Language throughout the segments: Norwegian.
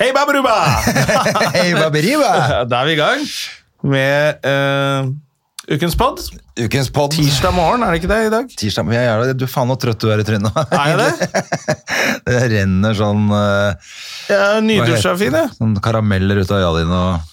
Hei, babaruba! Hei, Baberiba! Da er vi i gang med eh, ukens pod. Ukens podd. Tirsdag morgen, er det ikke det i dag? Tirsdag. men Jeg er det. Du faen hvor trøtt du er i trynet. Er jeg det? Det renner sånn eh, Jeg er hva nydusja heter fin, det? jeg. Sånn karameller ut av øya dine og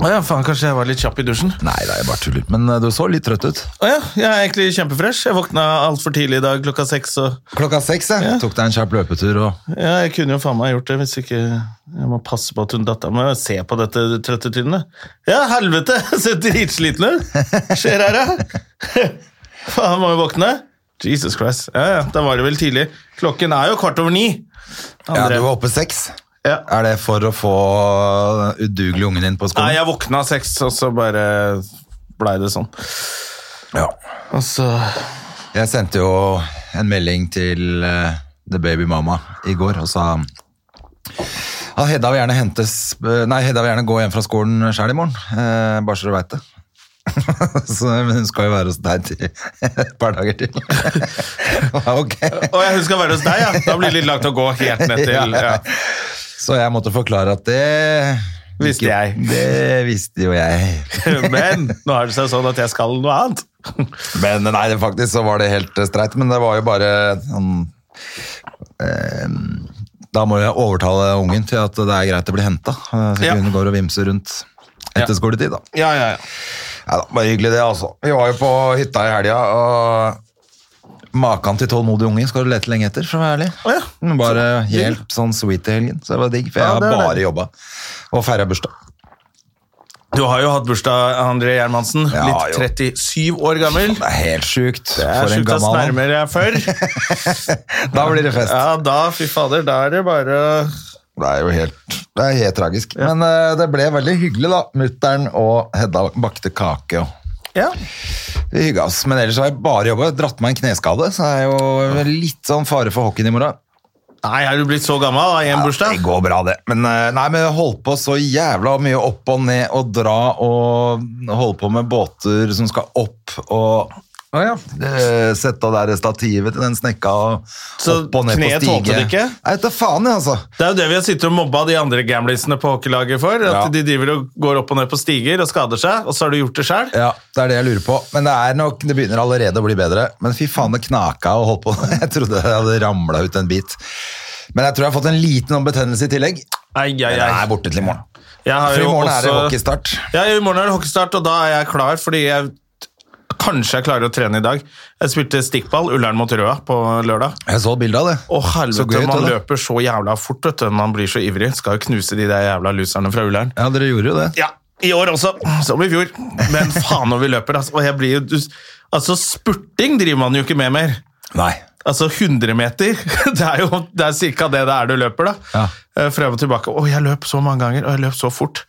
Å ja, faen, kanskje jeg var litt kjapp i dusjen. Å Nei, det er bare tuller. Men eh, du så litt trøtt ut. ja, jeg er egentlig kjempefresh. Jeg våkna altfor tidlig i dag klokka seks, og Klokka seks jeg. tok deg en kjapp løpetur og ja, jeg kunne jo faen meg gjort det hvis ikke Jeg må passe på at hun dattera mi ser på dette trøtte trynet. Ja, helvete! jeg Ser dritsliten ut! Skjer her, ja? Faen, må jo våkne. Jesus Christ. Ja, ja, da var det vel tidlig. Klokken er jo kvart over ni. Ja, Andre- du var oppe seks. Ja. Er det for å få den udugelige ungen din på Nei, skolen? jeg våkna seks, og så bare blei det sånn. Ja. Og så Jeg sendte jo en melding til eh, The Baby Mama i går og sa at Hedda vil gjerne, hentes, eh, nei, Hedda vil gjerne gå hjem fra skolen sjøl i morgen, eh, bare så du veit det. så, men hun skal jo være hos deg til et par dager til. Ja, ok. Og jeg husker å være hos deg, ja. Da blir det litt langt å gå helt ned til ja. Så jeg måtte forklare at det Visste jeg. Det visste jo jeg. Men nå er det seg sånn at jeg skal noe annet. Men nei, det faktisk så var det helt eh, streit, men det var jo bare sånn eh, Da må jeg overtale ungen til at det er greit å bli henta. Så ikke Ja. hun går og vimser rundt etter Ja. skoletid, da. Ja, ja, ja. Ja da, bare hyggelig det, altså. Vi var jo på hytta i helga, og maken til tålmodig unge skal du lete lenge etter, for å være ærlig. Å ja. Men Bare hjelp sånn sweet i helgen, så det var digg. For jeg Ja, har det er bare det. jobba og feira bursdag. Du har jo hatt bursdag, André Gjermansen. Ja, jo. Blitt 37 år gammel. Det er helt sjukt Det er for en sjukt at gammel mann. nærmere jeg før. Da blir det fest. Ja, da, fy fader, da er det bare Det er jo helt, det er helt tragisk. Men eh, det ble veldig hyggelig, da. Mutter'n og Hedda bakte kake. og Ja. Vi hygga oss. Men ellers har jeg bare jobba. Dratt meg en kneskade, så det er jo litt sånn fare for hockeyen i morgen. Nei, er du blitt så gammel da, i en Det bursdag? går bra, det. Men, eh, nei, men jeg holdt på så jævla mye opp og ned og dra og holde på med båter som skal opp og eh, Sette av der stativet til den snekka og Så opp og ned på stige. kneet tålte det ikke? Nei, vet da faen, jeg, altså. Det er jo det vi har sittet og mobba de andre gamlisene på hockeylaget for. At Ja. de driver og går opp og ned på stiger og skader seg, og så har du gjort det sjøl. Ja, det er det jeg lurer på. Men det er nok, det begynner allerede å bli bedre. Men fy faen, det knaka og holdt på. Jeg trodde jeg hadde ramla ut en bit. Men jeg tror jeg har fått en liten sånn betennelse i tillegg. Ai, ai, Men ai. den er borte til i morgen. Jeg har For i jo morgen er det også- hockeystart. Ja, i morgen er det hockeystart, og da er jeg klar, fordi jeg kanskje jeg klarer å trene i dag. Jeg spilte stikkball, Ullern mot Røa, på lørdag. Jeg så bilde av det. Å, helvete, Så gøy ut, man da. løper så jævla fort, vet du. Man blir så ivrig. Skal jo knuse de der jævla loserne fra Ullern. Ja, dere gjorde jo det. Ja, i år også, som i fjor. Men faen når vi løper, altså. Og jeg blir jo du- Altså, spurting driver man jo ikke med mer. Nei. Altså 100 meter, det er jo det er cirka det det er du løper da. Ja. Eh, Frem og tilbake. Å, jeg løp så mange ganger, og jeg løp så fort.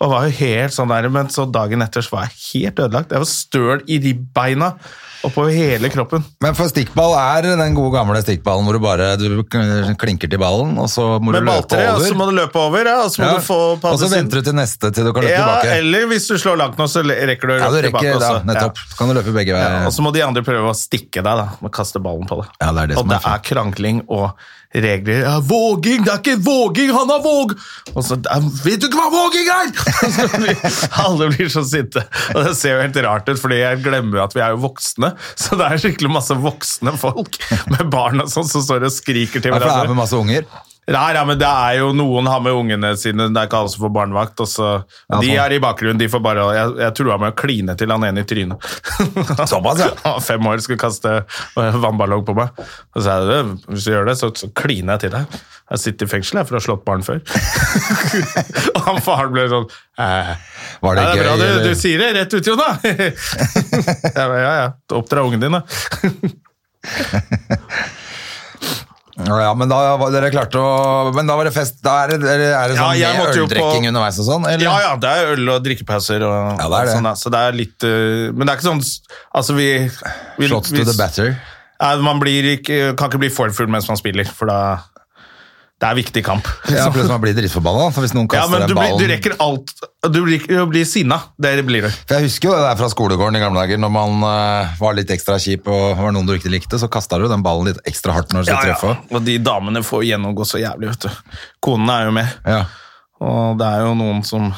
Og var jo helt sånn der, men så dagen etter så var jeg helt ødelagt. Jeg var støl i ribbeina og på hele kroppen. Men for stikkball er den gode gamle stikkballen hvor du bare du k- klinker til ballen, og så må du Med løpe balltre, og over. så må du løpe over, ja, og så må Ja, du få og så sin- venter du til neste til du kan løpe ja, tilbake. eller hvis du slår langt nå, så le- rekker du å Ja, du løpe tilbake rekker da, også. nettopp. Ja. Kan du løpe begge Ja, veier. og så må de andre prøve å stikke deg, da. Med å kaste ballen på deg. Ja, det er det og som er det er krangling og regler. Ja, 'Våging! Det er ikke våging! Han har våg!' Og så ja, 'Vet du ikke hva våging er?!' Og så blir- Alle blir så sinte. Og det ser jo helt rart ut, fordi jeg glemmer jo at vi er jo voksne. Så det er skikkelig masse voksne folk med barn og sånn som står og skriker til Ja, for det er med hverandre. masse unger. Nei, nei, men det er jo noen har med ungene sine, det er ikke alle som får barnevakt. Og så, Ja, de sånn. er i bakgrunnen, de får bare Jeg, jeg trua med å kline til han ene i trynet. Såpass, ja. Han var Fem år skulle kaste eh, vannballong på meg. Og så sa jeg «Du, hvis du gjør det, så, så kliner jeg til deg. Jeg sitter i fengsel jeg, for å ha slått barn før. og han faren ble sånn eh, Var det ja, det er gøy, bra du, eller? du sier det rett ut, Jonna! ja, ja, ja. Oppdra ungen din, da. Ja, ja, men da var dere klarte å Men da var det fest. Da er det, er det- er det Ja, sånn jeg med måtte jo på- øldrikking underveis og sånn? Eller? Ja, ja, det er øl og drikkepauser og, Ja, det er det. sånn. Da. Så det er litt øh, Men det er ikke sånn s- Altså, vi, vi Shots to vi- the batter. Nei, man blir ikke, kan ikke bli for full mens man spiller, for da Det er viktig kamp. Ja, plutselig man blir drittforbanna. For hvis noen Ja, kaster men den du, blir, ballen du rekker alt. Du blir, du blir sinna. Det blir det. For Jeg husker jo det der fra skolegården i gamle dager, når man eh, var litt ekstra kjip og var noen du ikke likte, så kasta du den ballen litt ekstra hardt når du skulle treffe. Og de damene får gjennomgå så jævlig, vet du. Konene er jo med. Ja, Og det er jo noen som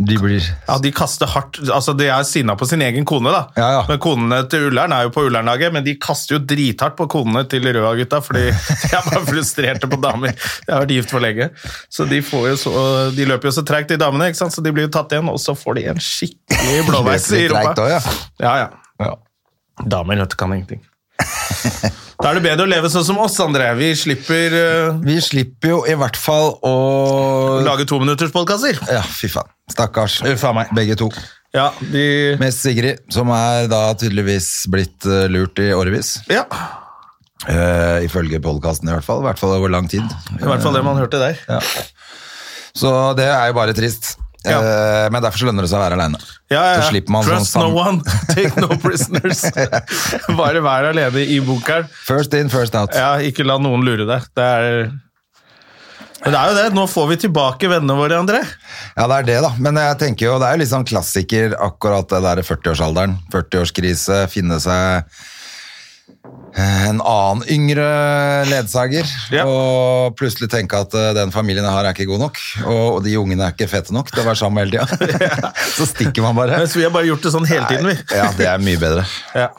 de blir... Ja, de kaster hardt. Altså, de er sinna på sin egen kone, da. Ja, ja. Men konene til Ullern er jo på Ullernlaget, men de kaster jo drithardt på konene til Røa-gutta, fordi de er bare frustrerte på damer. De har vært gift for lenge. Så de, får jo så, de løper jo så treigt, de damene, ikke sant? så de blir jo tatt igjen, og så får de en skikkelig blåveis i Løper litt rumpa. treigt også, ja, ja. Ja. Damer, vet du, kan ingenting. Da er det bedre å leve sånn som oss, André. Vi slipper eh, Vi slipper jo i hvert fall å lage tominutterspodkaster. Ja, fy faen. Stakkars. Uff a meg. Begge to. Ja, de Med Sigrid, som er da tydeligvis blitt eh, lurt i årevis. Ja, Eh, ifølge podkasten i hvert fall. I hvert fall over lang tid. i hvert fall det man hørte der. Så det er jo bare trist. Ja. Eh, men derfor så lønner det seg å være aleine. Ja, ja. Så slipper man Trust sånn sam- no one, take no prisoners. Bare vær alene i bunkeren. First in, first out. Ja, ikke la noen lure deg. Det er... Men det er jo det. Nå får vi tilbake vennene våre, André. Ja, det er det, da. Men jeg tenker jo, det er jo litt sånn klassiker, akkurat det der 40-årsalderen. 40-årskrise, finne seg eh, en annen yngre ledsager, Ja. og plutselig tenke at eh, den familien jeg har er ikke god nok, og, og de ungene er ikke fete nok til å være sammen hele tida. Så stikker man bare. Mens vi har bare gjort det sånn hele tiden, vi. Ja, det er mye bedre. Ja.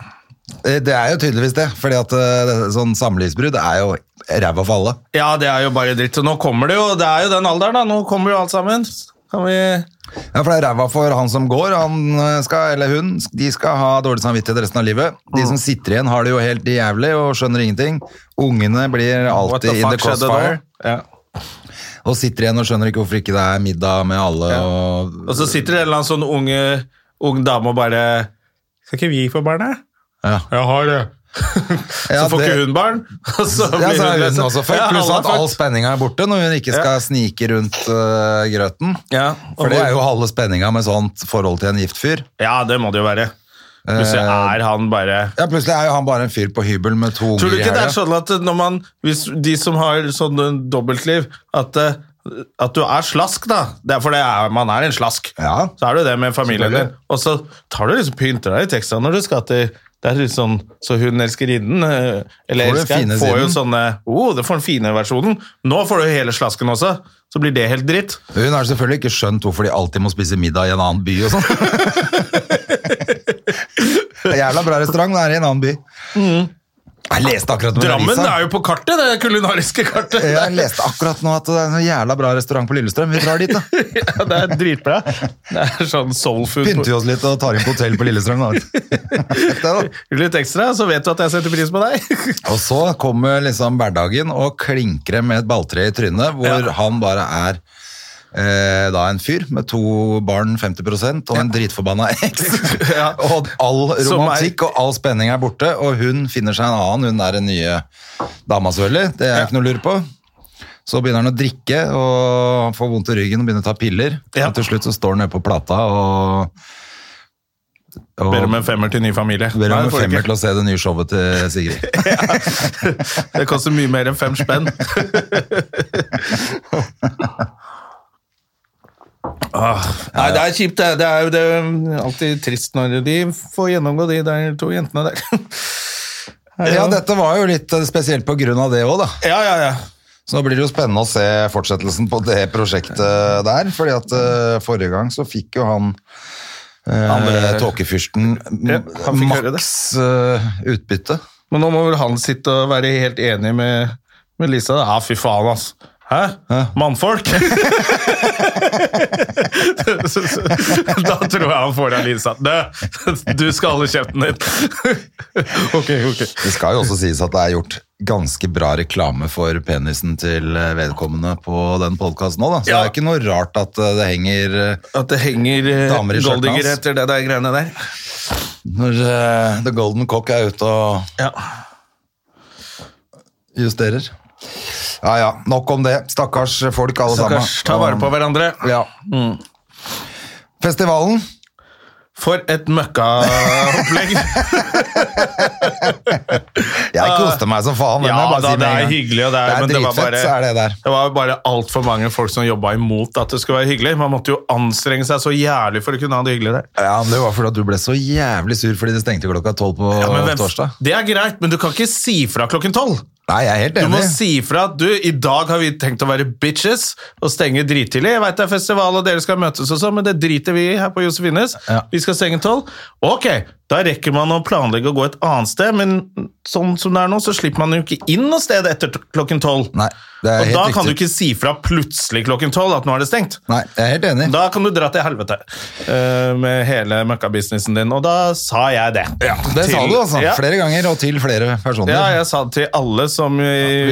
Eh, Det er jo tydeligvis det, fordi at eh, sånn samlivsbrudd er jo ræva for alle. ja, det er jo bare dritt. Og nå kommer det jo. Det er jo den alderen, da. Nå kommer jo alt sammen. Kan vi... Ja, for det er ræva for han som går, han eh, skal, eller hun, de skal ha dårlig samvittighet resten av livet. De Mm. som sitter igjen har det jo helt jævlig og skjønner ingenting. Ungene blir What alltid the in the fuck skjedde da? crossfire, Ja. og sitter igjen og skjønner ikke hvorfor ikke det er middag med alle. Og, Og så sitter det en eller annen sånn unge, ung dame og bare Skal ikke vi få barn, da? ja. Jeg har det. Ja, så får det- ikke hun barn. Og så Ja, blir så er hun liksom- også fucked, Ja, pluss alle at er all fucked. spenninga er borte når hun ikke skal snike rundt eh, grøten. ja, og For det hvor- er jo halve spenninga med sånt forhold til en gift fyr. ja, det må det jo være. Plutselig Eh, er han bare Ja, plutselig er jo han bare en fyr på hybel med to unger Tror du i ikke det er helga. sånn at når man, hvis de som har sånn eh, dobbeltliv, at, eh, at du er slask, da? Det er fordi er, man er en slask. Ja. Så er du det med familien Selvfølgelig. din. Og så tar du liksom pynter deg litt ekstra når du skal til det er litt sånn, Så hun elskerinnen, eh, eller Får du elskeren, fine får jo siden? sånne oh, det får den fine versjonen. Nå får du hele slasken også. Så blir det helt dritt. Hun har selvfølgelig ikke skjønt hvorfor de alltid må spise middag i en annen by og sånn. Det er jævla bra restaurant, det er i en annen by. Jeg leste akkurat om Mm. Drammen Larisa. er jo på kartet, det kulinariske kartet. Jeg leste akkurat nå at det er en jævla bra restaurant på Lillestrøm. Vi drar dit, da. Ja, det er dritbra. Det er sånn soul food. Pynter vi oss litt og tar inn på hotell på Lillestrøm. Da. Det da. Litt ekstra, så vet du at jeg setter pris på deg. Og så kommer liksom hverdagen og klinker det med et balltre i trynet, hvor Ja. han bare er eh, da en fyr med to barn, 50 og en dritforbanna eks. Ja. Og all Som er- romantikk og all spenning er borte, og hun finner seg en annen. Hun er den nye dama, selvfølgelig. Det er Ja. ikke noe å lure på. Så begynner han å drikke og han får vondt i ryggen og begynner å ta piller. Ja. Og til slutt så står han nede på plata og, og Ber om en femmer til ny familie. ber Nei, om det en får du femmer ikke. til å se det nye showet til Sigrid. Det koster mye mer enn fem spenn. Ah, nei, det er kjipt. Det er, det er jo det er alltid trist når de får gjennomgå de der to jentene der. Ja, dette var jo litt eh, spesielt på grunn av det òg, da. Ja, ja, ja. Så nå blir det jo spennende å se fortsettelsen på det prosjektet der. fordi at eh, forrige gang så fikk jo han eh, Andre- tåkefyrsten Ja, han fikk høre det. maks eh, utbytte. Men nå må vel han sitte og være helt enig med, med Lisa. da. Ja, fy faen, ass. Hæ? Mannfolk? da tror jeg han får av Lisa. Du, du skal holde kjeften din. ok, ok. Det skal jo også sies at det er gjort ganske bra reklame for penisen til eh, vedkommende på den podkasten òg, da. Så Ja. det er ikke noe rart at eh, det henger eh, At det henger eh, Damer i skjørtene goldinger hans. etter det der greiene der. Når eh, The Golden Cock er ute og Ja. Justerer. Ja ja, nok om det. Stakkars folk, alle sammen. Stakkars, ta vare på Mm. hverandre. Ja. Festivalen. For et møkkaopplegg! Jeg koste meg som faen. det må ja, jeg bare da, si med det en er gang. hyggelig, og det er, det er men det var dritfett, bare, så er det der. det var bare altfor mange folk som jobba imot at det skulle være hyggelig. Man måtte jo anstrenge seg så jævlig for å kunne ha det hyggelig der. Ja, men Det var fordi at du ble så jævlig sur fordi det stengte klokka tolv på Ja, men hvem- torsdag. Det er greit, men du kan ikke si fra klokken tolv. Nei, jeg er helt Du må enig. si fra at du, i dag har vi tenkt å være bitches og stenge drittidlig. Jeg vet det er festival og dere skal møtes og sånn, men det driter vi i her på Josefines. Ja. Vi skal stenge tolv. Ok, da rekker man å planlegge å gå et annet sted, men sånn som det er nå, så slipper man jo ikke inn noe sted etter t- klokken tolv. Nei, det er Og helt da riktig. kan du ikke si fra plutselig klokken tolv at nå er det stengt. Nei, jeg er helt enig. Da kan du dra til helvete eh, med hele møkkabusinessen din, og da sa jeg det. det sa Til- du, altså. Ja. Flere ganger og til flere personer. Ja, jeg sa det til alle som eh,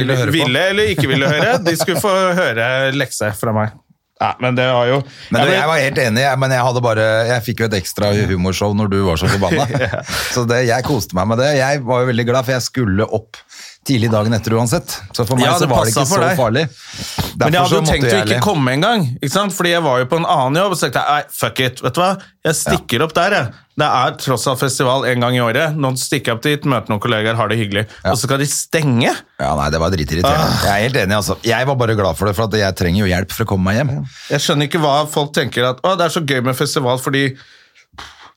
ville ville, høre på. eller ikke ville høre. De skulle få høre lekse fra meg. Nei, men det var jo Men Jeg du, ble- jeg var helt enig, jeg- men jeg, hadde bare, jeg fikk jo et ekstra humorshow når du var så forbanna. Så det, jeg koste meg med det. Jeg var jo veldig glad, for jeg skulle opp tidlig dagen etter uansett. Så for meg Ja, så det var det ikke passet for så deg. farlig. men jeg Derfor hadde så jo måtte tenkt å jeg ikke le. komme engang, ikke sant? fordi jeg var jo på en annen jobb. Så tenkte jeg nei, fuck it, vet du hva? Jeg stikker opp der, jeg. Det er tross alt festival en gang i året. Nå stikker jeg opp dit, møter noen kollegaer, har det hyggelig. Og så skal de stenge? Ja, nei, det var dritirriterende. Ah. Jeg er helt enig, altså. Jeg var bare glad for det, for at jeg trenger jo hjelp for å komme meg hjem. Jeg skjønner ikke hva folk tenker at å, det er så gøy med festival fordi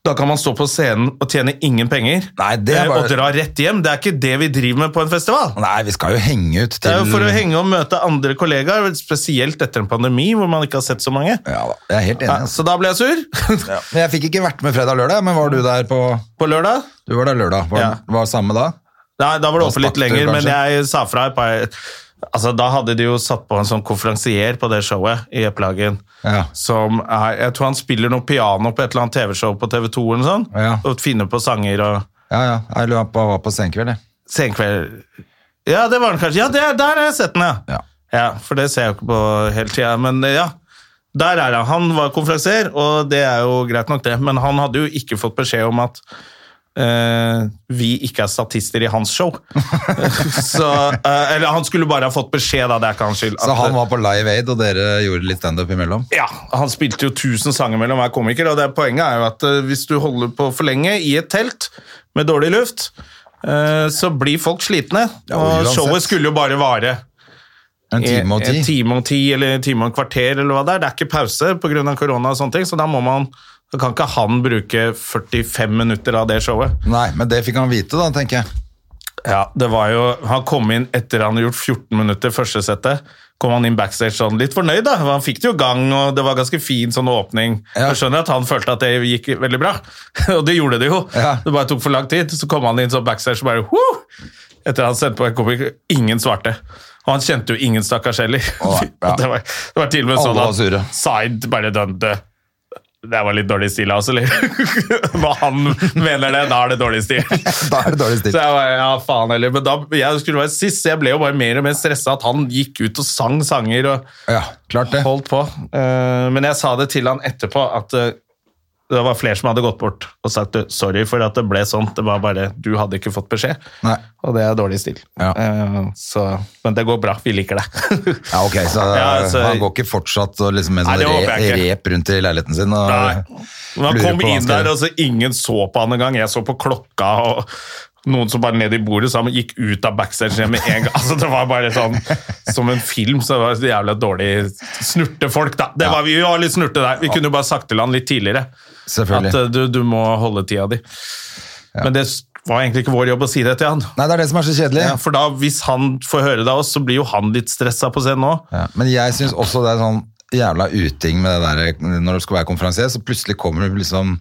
da kan man stå på scenen og tjene ingen penger Nei, det er eh, bare- og dra rett hjem. Det er ikke det vi driver med på en festival. Nei, vi skal jo henge ut til Det er jo for å henge og møte andre kollegaer, spesielt etter en pandemi hvor man ikke har sett så mange. Ja da, jeg er helt enig. Ja, Altså. så da ble jeg sur. Men Jeg fikk ikke vært med fredag og lørdag, men var du der på På lørdag Du var der lørdag. Var, Ja. var samme da? Nei, da var det Da oppe litt stakk du, lenger, men kanskje? jeg sa fra et par Altså, Da hadde de jo satt på en sånn konferansier på det showet i Epplagen. Ja. Som er, jeg tror han spiller noe piano på et eller annet TV-show på TV2 eller noe sånt. Ja. Og finner på sanger og Ja ja, jeg lå på, var på senkveld, jeg. Senkveld Ja, det var den kanskje. Ja, det, der har jeg sett den, ja. Ja. For det ser jeg jo ikke på hele tida. Men eh, ja, der er han. Han var konferansier, og det er jo greit nok, det. Men han hadde jo ikke fått beskjed om at eh, vi ikke er statister i hans show. så, eh, eller han skulle bare ha fått beskjed, da. Det er ikke hans skyld. Så at- eh, han var på Live Aid, og dere gjorde litt standup imellom? ja, Han spilte jo 1000 sanger mellom hver komiker, og det poenget er jo at eh, hvis du holder på for lenge i et telt med dårlig luft, eh, så blir folk slitne. Ja, og og uansett. showet skulle jo bare vare En time og Eh, en- ti? En time og ti, eller en time og en kvarter, eller hva det er. Det er ikke pause pga. korona og sånne ting, så da må man da kan ikke han bruke 45 minutter av det showet. Nei, men det fikk han vite, da, tenker jeg. Ja, det var jo, Han kom inn etter han hadde gjort 14 minutter første settet. Kom han inn backstage sånn litt fornøyd, da. Han fikk det jo i gang, og det var ganske fin sånn åpning. Ja. Jeg skjønner at han følte at det gikk veldig bra, og det gjorde det jo. Ja. Det bare tok for lang tid. Så kom han inn sånn backstage og bare Hoo! Etter han sendte på en komiker, ingen svarte. Og han kjente jo ingen stakkars heller. Å, ja. Det, var, det var til og med Alle sånn var at sure. Side bare dømte Det var litt dårlig stil av oss, eller? Når han mener det, da er det dårlig stil. Da er det dårlig Så stil. jeg bare, ja, faen heller. Men da, jeg skulle være sist, så jeg ble jo bare mer og mer stressa at han gikk ut og sang sanger og Ja, klart det. holdt på. Eh, men jeg sa det til han etterpå, at eh, det var flere som hadde gått bort og sagt du, sorry for at det ble sånn, det var bare du hadde ikke fått beskjed. Nei. Og det er dårlig stil. Ja. Eh, så, men det går bra, vi liker det. Ja, ok, så Ja, altså- han går ikke fortsatt og liksom med Nei, sånn det håper re, jeg ikke. rep rundt i leiligheten sin? Og, Nei. Men han Lurer kom på hva han inn skal der, gjøre. og så ingen så på han engang. Jeg så på klokka, og noen som bare ned i bordet, så han gikk ut av backstage igjen med en gang. Altså, det var bare sånn som en film, så det var så jævlig dårlig snurtefolk, da. Det var, vi var litt snurte der. Vi kunne jo bare sagt til han litt tidligere at Selvfølgelig. eh, du, du må holde tida di. Men det var egentlig ikke vår jobb å si det til han. Nei, det er det som er så kjedelig. For da, hvis han får høre det av oss, så blir jo han litt stressa på scenen òg. Ja, men jeg syns også det er sånn jævla uting med det der når du skal være konferansier, så plutselig kommer det liksom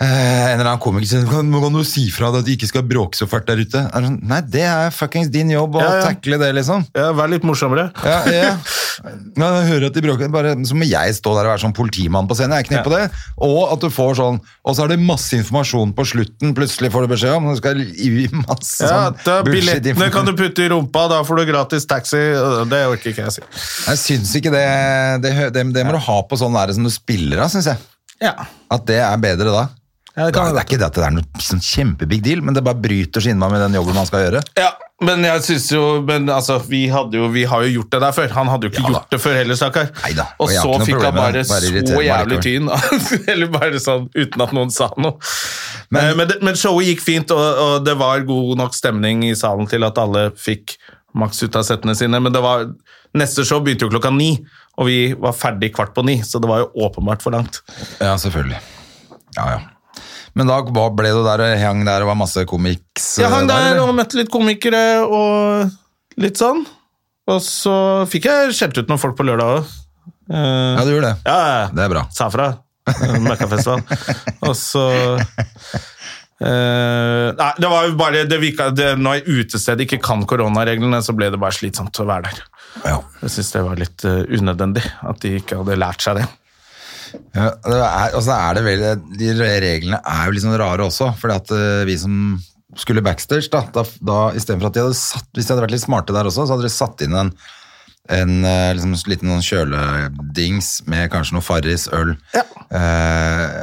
eh, en eller annen komiker sier kan, må- kan du si fra deg at de ikke skal bråke så fælt der ute? Er det sånn, Nei, det er fuckings din jobb å Ja, ja. takle det, liksom. Ja, vær litt morsommere. Ja, ja. Ja, jeg hører at de bråker, bare så må jeg stå der og være sånn politimann på scenen. Jeg er ikke nede på det. Og at du får sånn Og så er det masse informasjon på slutten, plutselig får du beskjed om Du skal gi masse Ja, sånn da, Billettene bullshit-informasjon. kan du putte i rumpa, da får du gratis taxi. Det orker ikke jeg å si. Jeg syns ikke det Det, hø- det, det må du ha på sånn nære som du spiller av, syns jeg. Ja. At det er bedre da. Ja, det det, kan er, det er ikke det at det er noe sånn kjempebig deal, men det bare bryter så innmari med den jobben man skal gjøre. Ja, Men jeg synes jo men altså, vi, hadde jo, vi har jo gjort det der før. Han hadde jo ikke Ja da. gjort det før heller, stakkar. Neida, og Og jeg har så ikke noe fikk han problem med bare, det, bare irriterer så meg jævlig tyn. Eller bare sånn uten at noen sa noe. Men, men, det, men showet gikk fint, og, og det var god nok stemning i salen til at alle fikk maks ut av settene sine. Men det var, neste show begynte jo klokka ni, og vi var ferdig kvart på ni, så det var jo åpenbart for langt. Ja, selvfølgelig. Ja, ja. Men da ba- ble du der og hang der og var masse komiks? Jeg hang eh, der eller? og møtte litt komikere og litt sånn. Og så fikk jeg skjelt ut noen folk på lørdag òg. Ja, du gjorde det. Ja, ja. Det er bra. Sa fra. Eh, Møkkafestival. og så eh, Nei, det var jo bare det virka, det, Når utestedet ikke kan koronareglene, så ble det bare slitsomt å være der. Ja. Jeg syns det var litt eh, unødvendig at de ikke hadde lært seg det. Ja, det er, og så er det vel, de reglene er jo litt sånn rare også, fordi at eh, vi som skulle backstage, da, da, da i stedet for at de hadde satt, hvis de hadde vært litt smarte der også, så hadde de satt inn en, en eh, liksom, liten sånn kjøledings med kanskje noe farris, øl eh,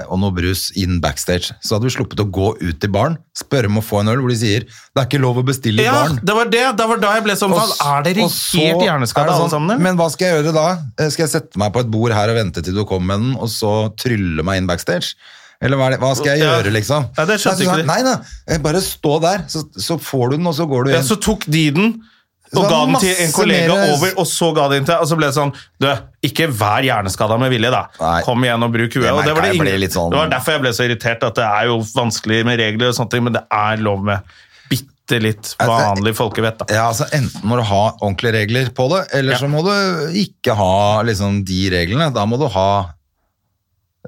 og noe brus inn backstage. Så hadde vi sluppet å gå ut til baren, spørre om å få en øl, hvor de sier, det er ikke lov å bestille i Ja, baren. det var det! Det var da jeg ble sånn faen, Er dere Og så helt er det hjerneskadde, sånn, alle sammen? Men hva skal jeg gjøre da? Eh, Skal jeg sette meg på et bord her og vente til du kommer med den, og så trylle meg inn backstage? Eller hva, er det, hva skal jeg Ja. gjøre, liksom? Ja, det Nei, så skjønte ikke sa han, de. Nei, nei, eh, bare stå der, så, så får du den, og så går du Ja, igjen. så tok de den Så og ga den masse til en kollega mer- over, og så ga de den til Og så ble det sånn Du, ikke vær hjerneskada med vilje, da. Nei. Kom igjen og bruk huet. Jeg Og det, merket var det, jeg ble ingen, litt sånn- det var derfor jeg ble så irritert, at det er jo vanskelig med regler og sånne ting, men det er lov med bitte litt vanlig folkevett, da. Ja, altså Enten må du ha ordentlige regler på det, eller Ja. så må du ikke ha liksom, de reglene. Da må du ha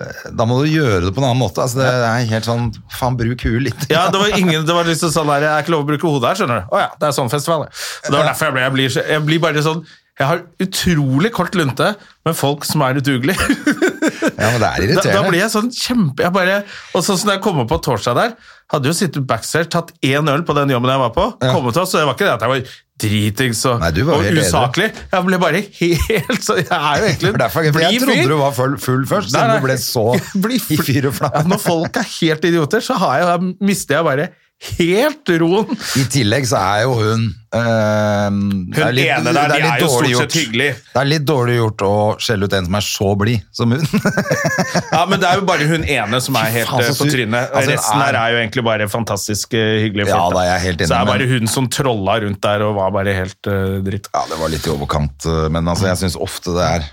eh, Da må du gjøre det på en annen måte. Altså, det er helt sånn Faen, bruk huet litt. Ja, det var ingen, det var liksom sånn der, Jeg er ikke lov å bruke hodet her, skjønner du. Å ja, det er sånn festival. ja. Så Det var derfor jeg ble jeg blir, så- jeg blir bare sånn Jeg har utrolig kort lunte med folk som er udugelige. Ja, men det er Da, irriterende. da blir jeg sånn kjempe jeg bare, Og sånn som da jeg kom opp på torsdag der Hadde jo sittet backstage, tatt én øl på den jobben jeg var på Kommet oss, så det var ikke det at jeg var dritings og, Nei, du var og helt edru. usaklig Jeg ble bare helt så Jeg er jo egentlig For derfor, for jeg trodde du var full, full først, Nei, siden nei. du ble så Bli i fyr og Ja, flamme. Når folk er helt idioter, så har jeg, da mister jeg bare helt roen I tillegg så er jo hun ehm, Hun Hun ene der, de er jo stort sett hyggelig. Det er litt dårlig gjort å skjelle ut en som er så blid som hun. Ja, men det er jo bare hun ene som er helt Faen, så eh, på sur. trynet. Altså, hun Resten er- her er jo egentlig bare fantastisk eh, hyggelige Ja, folk. da er jeg helt enig, så det er men- bare hun som trolla rundt der og var bare helt eh, dritt. ja, det var litt i overkant, eh, men altså, jeg syns ofte det er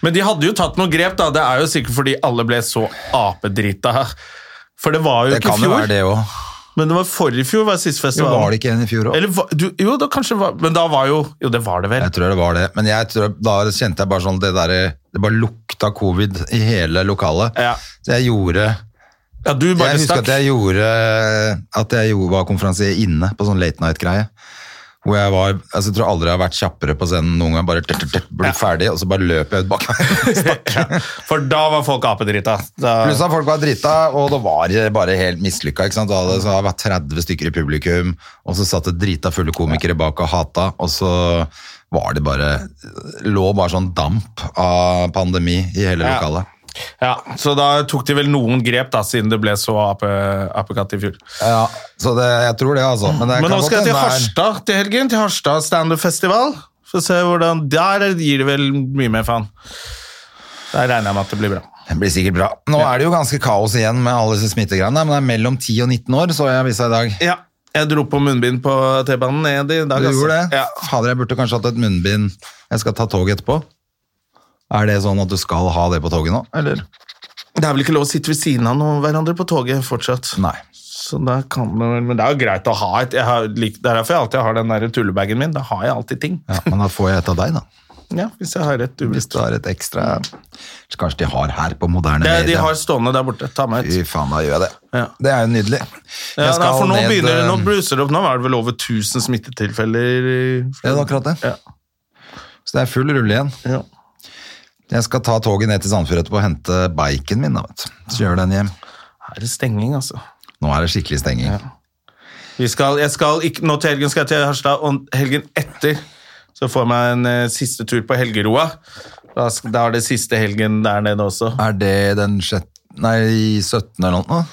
Men de hadde jo tatt noen grep, da. Det er jo sikkert fordi alle ble så apedrita her. For det var jo Det ikke kan i jo fjor. være det òg. Men det var forrige fjor var sist festival. Var det ikke en i fjor òg? Eller, hva- du, jo, da kanskje var, men da var jo Jo, det var det vel. Jeg tror det var det. Men jeg tror, da kjente jeg bare sånn det derre Det bare lukta covid i hele lokalet. Ja. Så jeg gjorde Ja, du bare jeg husker stakk. at jeg gjorde At jeg gjorde, var konferansier inne på sånn late night-greie. Hvor jeg var altså, Jeg tror aldri jeg har vært kjappere på scenen noen gang. Bare tørt, tørt, tørt, ble ferdig, og så bare løp jeg ut bak. For da var folk apedrita. Da- Pluss at folk var drita, og det var bare helt mislykka. ikke sant? Da hadde så hadde det vært 30 stykker i publikum, og så satt det drita fulle komikere bak og hata, og så var det bare Lå bare sånn damp av pandemi i hele Ja. lokalet. Ja, Så da tok de vel noen grep, da, siden det ble så ape, apekatt i fjor. Ja, så det, jeg tror det, altså. Men, det kan Men nå godt skal jeg til hende det er- Harstad til helgen, til Harstad standup-festival. Får se hvordan Der gir det vel mye mer faen. Der regner jeg med at det blir bra. Det blir sikkert bra. Nå er det jo ganske kaos igjen med alle disse smittegreiene, men det er mellom 10 og 19 år, så jeg avisa i dag. Ja, jeg dro på munnbind på T-banen ned i dag. Du altså. gjorde det? Ja. Fader, jeg burde kanskje hatt et munnbind. Jeg skal ta toget etterpå. Er det sånn at du skal ha det på toget nå, eller? Det er vel ikke lov å sitte ved siden av noen hverandre på toget fortsatt. Nei. Så da kan det vel, Men det er jo greit å ha et jeg har, lik- Det er derfor jeg alltid har den der tullebagen min. Da har jeg alltid ting. Ja, men da får jeg et av deg, da. Ja, Hvis jeg har et Hvis ubevisst. du har et ekstra Så Kanskje de har her på moderne Det, de media. har stående der borte. Ta med Fy et. faen, da gjør jeg det. Ja. Det er jo nydelig. Ja, Jeg nei, skal for nå ned, begynner det, nå eh, bluser det opp. Nå er det vel over 1000 smittetilfeller. i- eh, Ja, det er akkurat det. Ja. Så det er full rulle igjen. Ja. Jeg skal ta toget ned til Sandfjord etterpå og hente biken min, da, vet du. Så gjør den hjem. Her er det stenging, altså. Nå er det skikkelig stenging. Vi skal, jeg skal ikke, nå til helgen skal jeg til Harstad, og helgen etter så får jeg meg en eh, siste tur på Helgeroa. Da, sk- da er det siste helgen der nede også. Er det den sjett- Nei, 17. eller noe?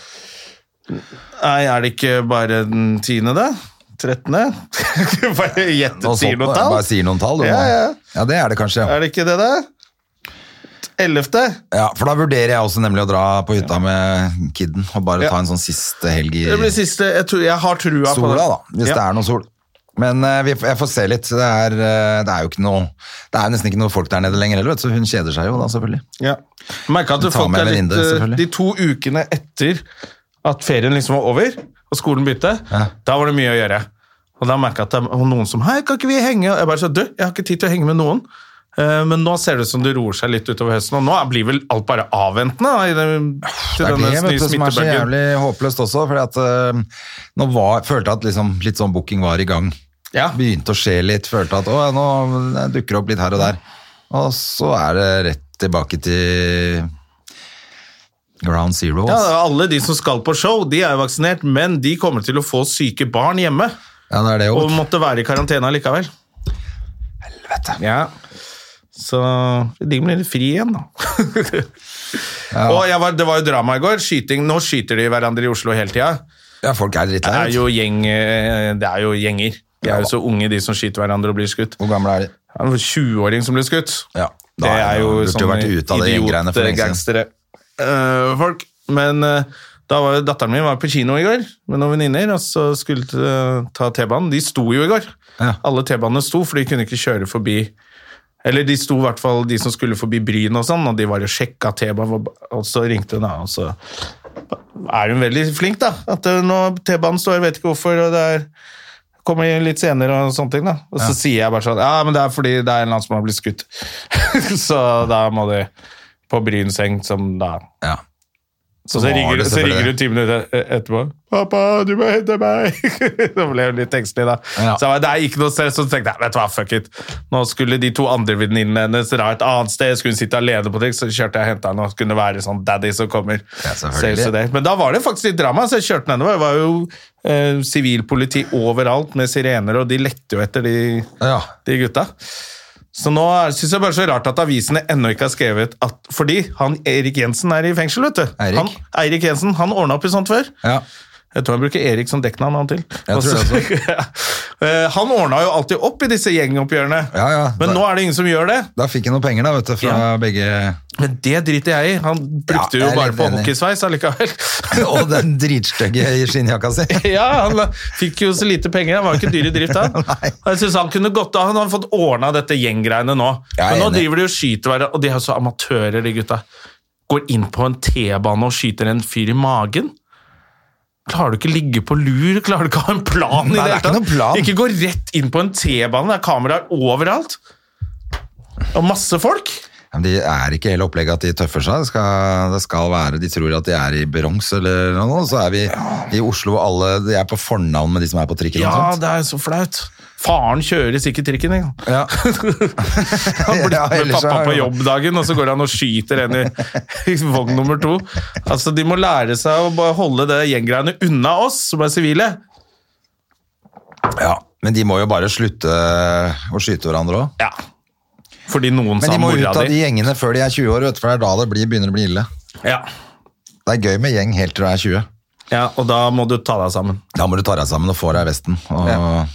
Nei, er det ikke bare den tiende, da? 13. Bare gjette, Nå så- sier noe jeg tall. Bare sier noen tall. du Ja, må- ja. ja, det er det kanskje. Er det ikke det, da? 11. Ja, for da vurderer jeg også nemlig å dra på hytta med kidden og bare Ja. ta en sånn siste helg i Det blir siste. Jeg, tror, jeg har trua på sola, det. da, hvis det Ja. er noe sol. Men eh, vi, jeg får se litt. Det er, eh, det er jo ikke noe Det er nesten ikke noe folk der nede lenger heller, vet du, så hun kjeder seg jo da, selvfølgelig. Ja. Merka at Ta folk med er litt venninne, eh, selvfølgelig. De to ukene etter at ferien liksom var over, og skolen begynte, Ja. da var det mye å gjøre. Og da merka jeg at det var noen som Hei, kan ikke vi henge? Og jeg bare sa du, jeg har ikke tid til å henge med noen. Eh, Men nå ser det ut som det roer seg litt utover høsten, og nå blir vel alt bare avventende da, i den, til Det er denne det vet du, nye som er så smittebølgen. jævlig håpløst også. Fordi at eh, nå var, følte jeg at liksom, litt sånn booking var i gang. Ja. Begynte å skje litt. Følte at å, ja, nå dukker det opp litt her og der. Og så er det rett tilbake til ground zero. Ja, ass. alle de som skal på show, de er jo vaksinert, men de kommer til å få syke barn hjemme. Ja, det er det òg. Og måtte være i karantene likevel. Helvete. Ja. Så de blir litt fri igjen, da. Og jeg var, det var jo drama i går. Skyting. Nå skyter de hverandre i Oslo hele tida. Ja, folk er Det drittlei. er vet du. jo gjeng eh, Det er jo gjenger. De er Ja. jo så unge, de som skyter hverandre og blir skutt. Hvor gamle er de? Det er en 20-åring som blir skutt. Ja. Det er jo sånn burde jo sånne vært ute av det gjenggreiene for lenge siden. idiotgangstere. eh, folk. Men eh, da var jo datteren min var på kino i går med noen venninner, og så skulle eh, ta T-banen. De sto jo i går. Ja. Alle T-banene sto, for de kunne ikke kjøre forbi Eller de sto i hvert fall de som skulle forbi Bryn og sånn, og de var og sjekka T-banen, og så ringte hun, da, og så er hun veldig flink, da. At eh, nå T-banen står, jeg vet ikke hvorfor, og det er Kommer de litt senere og sånne ting, da. Og så sier jeg bare sånn Ja, men det er fordi det er en eller annen som har blitt skutt. så da må de på Bryn seng, som da Ja. Så, så, var ringer, det så selvfølgelig- ringer hun ti minutter et- etterpå. 'Pappa, du må hente meg!' da ble hun litt engstelig, da. Ja. Så jeg bare, det er ikke noe stress. Og så tenkte jeg vet du hva, fuck it. Nå skulle de to andre venninnene hennes dra et annet sted, skulle hun sitte alene på ting, så kjørte jeg og henta henne, og kunne være sånn daddy som kommer. Ja, selvfølgelig. Saves the day. Men da var det faktisk litt drama, så jeg kjørte henne. Det var jo eh, sivilpoliti overalt med sirener, og de lette jo etter de, Ja. de gutta. Så nå syns jeg bare så rart at avisene ennå ikke har skrevet at Fordi han Erik Jensen er i fengsel, vet du. Eirik? Han, Eirik Jensen, han ordna opp i sånt før. ja. Jeg tror han bruker Erik som dekknavn han til. Jeg tror det Eh, han ordna jo alltid opp i disse gjengoppgjørene, Ja, ja. men Da- nå er det ingen som gjør det. Da fikk jeg noen penger, da, vet du, fra begge Men det driter jeg i. Han brukte jeg er jo bare litt på enig. hockeysveis allikevel. Og den dritstygge skinnjakka si. ja, han fikk jo så lite penger. Han var jo ikke dyr i drift, han. Nei. Og jeg synes han kunne gått av. Han har fått ordna dette gjenggreiene nå. Jeg er Men nå enig. driver de og skyter hverandre, og de er jo så amatører, de gutta. Går inn på en T-bane og skyter en fyr i magen. Klarer du ikke å ligge på lur? Klarer du ikke å ha en plan? Nei, i det det er ikke hele noen tatt? plan. Ikke gå rett inn på en T-bane, det er kameraer overalt. Og masse folk. Ja, men de er ikke hele opplegget at de tøffer seg. Det skal, det skal være, De tror at de er i Bronx eller noe, og så er vi i Oslo og alle de er på fornavn med de som er på trikken. Ja, og sånt. det er så flaut. Faren kjører sikkert trikken. Ikke? sant? Ja. Han blir Ja, med ellers pappa er- på jobbdagen, og så går han og skyter en i, i vogn nummer to. Altså, De må lære seg å bare holde det gjenggreiene unna oss som er sivile. ja. Men de må jo bare slutte å skyte hverandre òg. Ja. Fordi noen Men sa de må ut mora av de di. gjengene før de er 20 år, vet du, for det er da det blir, begynner å bli ille. Ja. Det er gøy med gjeng helt til du er 20. ja, og da må du ta deg sammen. Da må du ta deg sammen og få deg vesten. Og, Ja.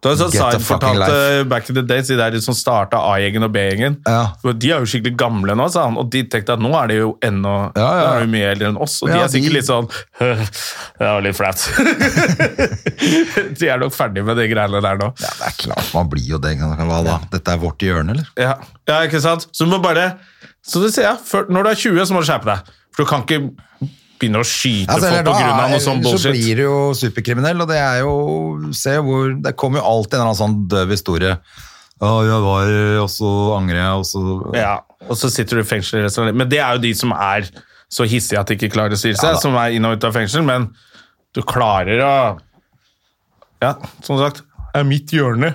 Det var sånn Get the Zaid fucking fortalte life. eh, back in the days, de der som starta A-gjengen og B-gjengen. Ja. For De er jo skikkelig gamle nå, sa han, og de tenkte at nå er de jo ennå Ja, ja. nå er de jo mye eldre enn oss. Og de Ja, er sikkert de- litt sånn Det var litt flaut. de er nok ferdig med de greiene der nå. Ja, det er klart man blir jo det. kan- kan- Hva da? Dette er vårt hjørne, eller? Ja. ja, ikke sant? Så du må bare Så det sier jeg, før, når du er 20, så må du skjerpe deg. For du kan ikke begynne å skyte Altså, folk eller på grunn av da, noe sånn ellers så bullshit. blir du jo superkriminell, og det er jo Se jo hvor Det kommer jo alltid en eller annen sånn døv historie. Å, jeg var Og så angrer jeg, og så Ja, og så sitter du i fengsel resten av livet. Men det er jo de som er så hissige at de ikke klarer å styre seg, Ja da. som er inn og ut av fengsel, men du klarer å Ja, som sagt, det er mitt hjørne,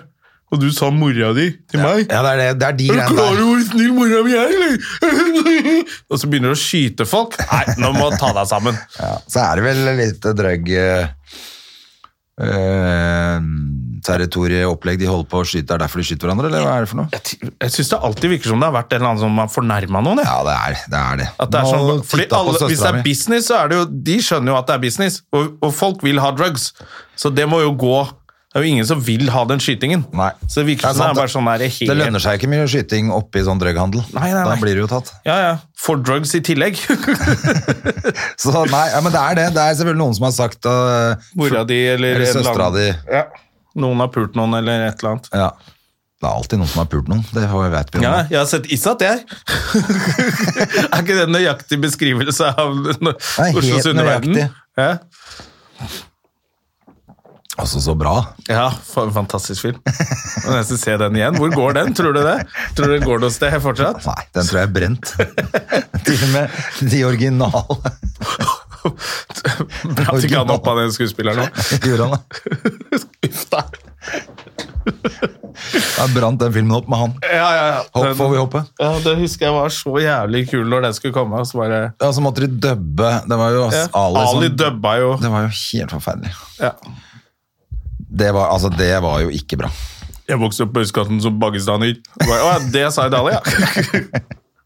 og du sa mora di til meg. Ja, det er, det, det er de Er du greiene klar over der. hvor snill mora mi er, eller? og så begynner du å skyte folk. Nei, nå må du ta deg sammen. Ja, så er det vel litt drøgg eh, eh, territorieopplegg de holder på å skyte? Er det derfor de skyter hverandre, eller hva er det for noe? Jeg syns det alltid virker som det har vært en eller annen som har fornærma noen. jeg. Ja, det er det. Er det. At det er Nå sånn, fordi titta på alle, hvis det søstera er mi. business, så er det jo De skjønner jo at det er business, og, og folk vil ha drugs. Så det må jo gå Det er jo ingen som vil ha den skytingen. Nei. Så det virker er som det sant, er bare sånn der helt Det lønner seg ikke mye skyting oppi sånn drøgghandel. Nei, nei, nei. Da blir det jo tatt. Ja, ja. For drugs i tillegg. Så nei, ja, men det er det. Det er selvfølgelig noen som har sagt øh, Mora di eller, Eller en eller søstera annen. di. Ja. Noen har pult noen, eller et eller annet. Ja. Det er alltid noen som har pult noen. Det har- vet vi jo Ja, nå. jeg har sett Isat, jeg. er ikke det en nøyaktig beskrivelse av no- Nei, helt Oslos underverden? nøyaktig. Ja. Altså, så bra. ja, fa- fantastisk film. Jeg må nesten se den igjen. Hvor går den, tror du det? Tror du det går noe sted fortsatt? Nei, den tror jeg er brent. Til og med de originale Bra fikk han opp av den skuespilleren nå. gjorde han det. Uff da. Da brant den filmen opp med han. Ja, ja, ja. Hopp, Den- får vi hoppe? Ja, det husker jeg var så jævlig kul når den skulle komme. Og så bare, Ja, så måtte de dubbe. Det var jo ja. Ali, som- Ali dubba jo. Det var jo helt forferdelig. Ja. Det var, altså, det var jo ikke bra. Jeg vokste opp på østkanten som pakistaner. Bare, Å ja, det sa Dali, ja. Det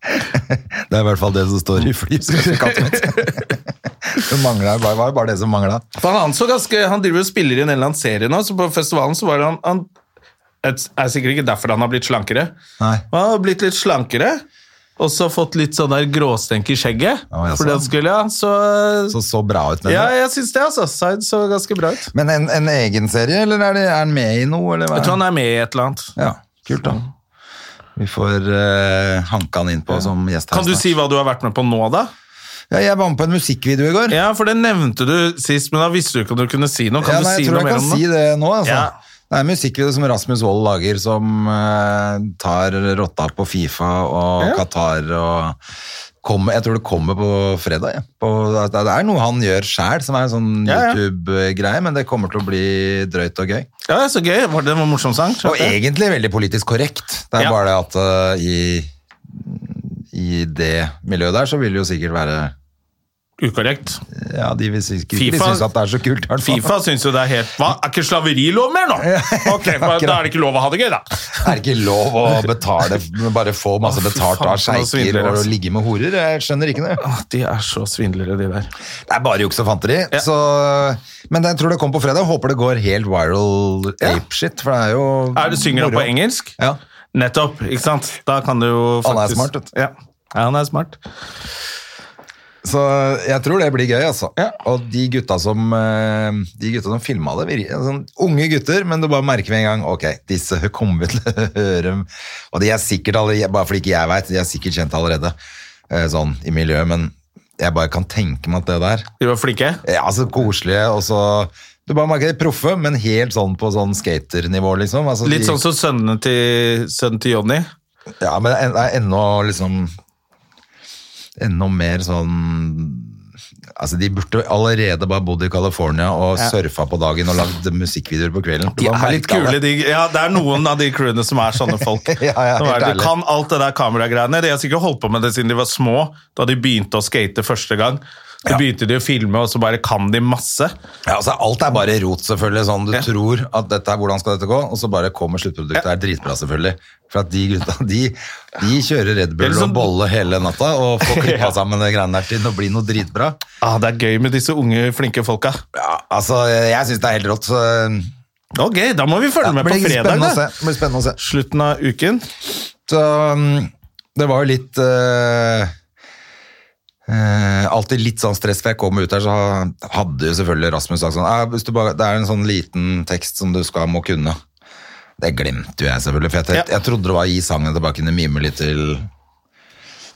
er i hvert fall det som står i flyselskapet mitt. Det manglet, det var jo bare det som mangla. For han, så ganske, han driver og spiller i en eller annen serie nå, så på festivalen så var det han, han Det er sikkert ikke derfor han har blitt slankere. Nei. Men han har blitt litt slankere, og så fått litt sånn der gråstenk i skjegget. Ja, jeg fordi sa. han skulle, ja, så... Så så bra ut med ja, det. jeg syns det, altså. Zaid så ganske bra ut. Men en, en egen serie, eller er, det, er han med i noe? Eller hva? Jeg tror han er med i et eller annet. Mm. Ja, kult da. Vi får eh, hanke han inn på som gjest her Kan du snart. si hva du har vært med på nå, da? Ja, jeg var med på en musikkvideo i går. Ja, for det nevnte du sist, men da visste du ikke om du kunne si noe. Kan Ja, nei, jeg du si tror jeg noe mer kan om si det? det nå, altså. Ja. Det er en musikkvideo som Rasmus Wold lager, som eh, tar rotta på Fifa og Qatar og kommer, Jeg tror det kommer på fredag. Ja. På, det er noe han gjør sjæl, som er en sånn Ja, ja. YouTube-greie, men det kommer til å bli drøyt og gøy. Ja, så gøy. Var det en morsom sang? Og egentlig veldig politisk korrekt. Det er Ja. bare det at eh, i, i det miljøet der, så vil det jo sikkert være Ukorrekt. Ja, de vil sikkert ikke FIFA- synes at det er så kult. i hvert fall. Fifa syns jo det er helt Hva, er ikke slaveri lov mer nå?! Ok, men Da er det ikke lov å ha det gøy, da. Er det ikke lov å betale, bare få masse Å, fy betalt faen, av for noen sjeiker svindlere, og ass. ligge med horer? Jeg skjønner ikke det. Å, De er så svindlere, de der. Det er bare juks og fanteri. Så, men jeg tror det kommer på fredag. Håper det går helt viral Ja. apeshit, for det er jo Er det, synger han moro. på engelsk? Ja. Nettopp, ikke sant? Da kan du jo Han er faktisk smart, vet du. Ja. ja, han er smart. Så jeg tror det blir gøy, altså. Ja. Og de gutta som eh, De gutta som filma det, vir- sånn unge gutter, men du bare merker med en gang Ok, disse kommer vi til å høre Og de er sikkert allerede, bare fordi ikke jeg veit, de er sikkert kjent allerede eh, sånn i miljøet, men jeg bare kan tenke meg at det der De var flinke. Ja, altså koselige, og så Du bare merker de er proffe, men helt sånn på sånn skaternivå, liksom. Altså, Litt de, sånn som sønnene til, sønnen til Johnny. Ja, men en- det er ennå liksom Enda mer sånn Altså, De burde allerede bare bodd i California og surfa på dagen og lagd musikkvideoer på kvelden. Du De bare er litt merker kule, det. de. Ja, det er noen av de crewene som er sånne folk. Ja, ja, Nå er helt det- ærlig. kan alt det der kameragreiene. De har sikkert holdt på med det siden de var små, da de begynte å skate første gang. Så begynte de å filme, og så bare kan de masse. Ja, altså, Alt er bare rot, selvfølgelig. sånn Du tror at dette er hvordan skal dette gå, og så bare kommer sluttproduktet. Det er dritbra, selvfølgelig. For at de gutta, de, de kjører Red Bull Det er liksom- og bolle hele natta og får klippa sammen det greiene der til å bli noe dritbra. Ah, det er gøy med disse unge, flinke folka. Ja, altså, jeg syns det er helt rått. Så, Ok, da må vi følge ja, med på blir fredag. spennende å se. Da. Det blir spennende å se. Slutten av uken. Så um, det var jo litt eh, eh, alltid litt sånn stress, for jeg kom ut der, så hadde jo selvfølgelig Rasmus sagt sånn «Ah, hvis du bare, Det er en sånn liten tekst som du skal må kunne. Det glemte jo jeg selvfølgelig, for jeg, tenkte- Ja. jeg trodde det var i sangen at jeg bare kunne mime litt til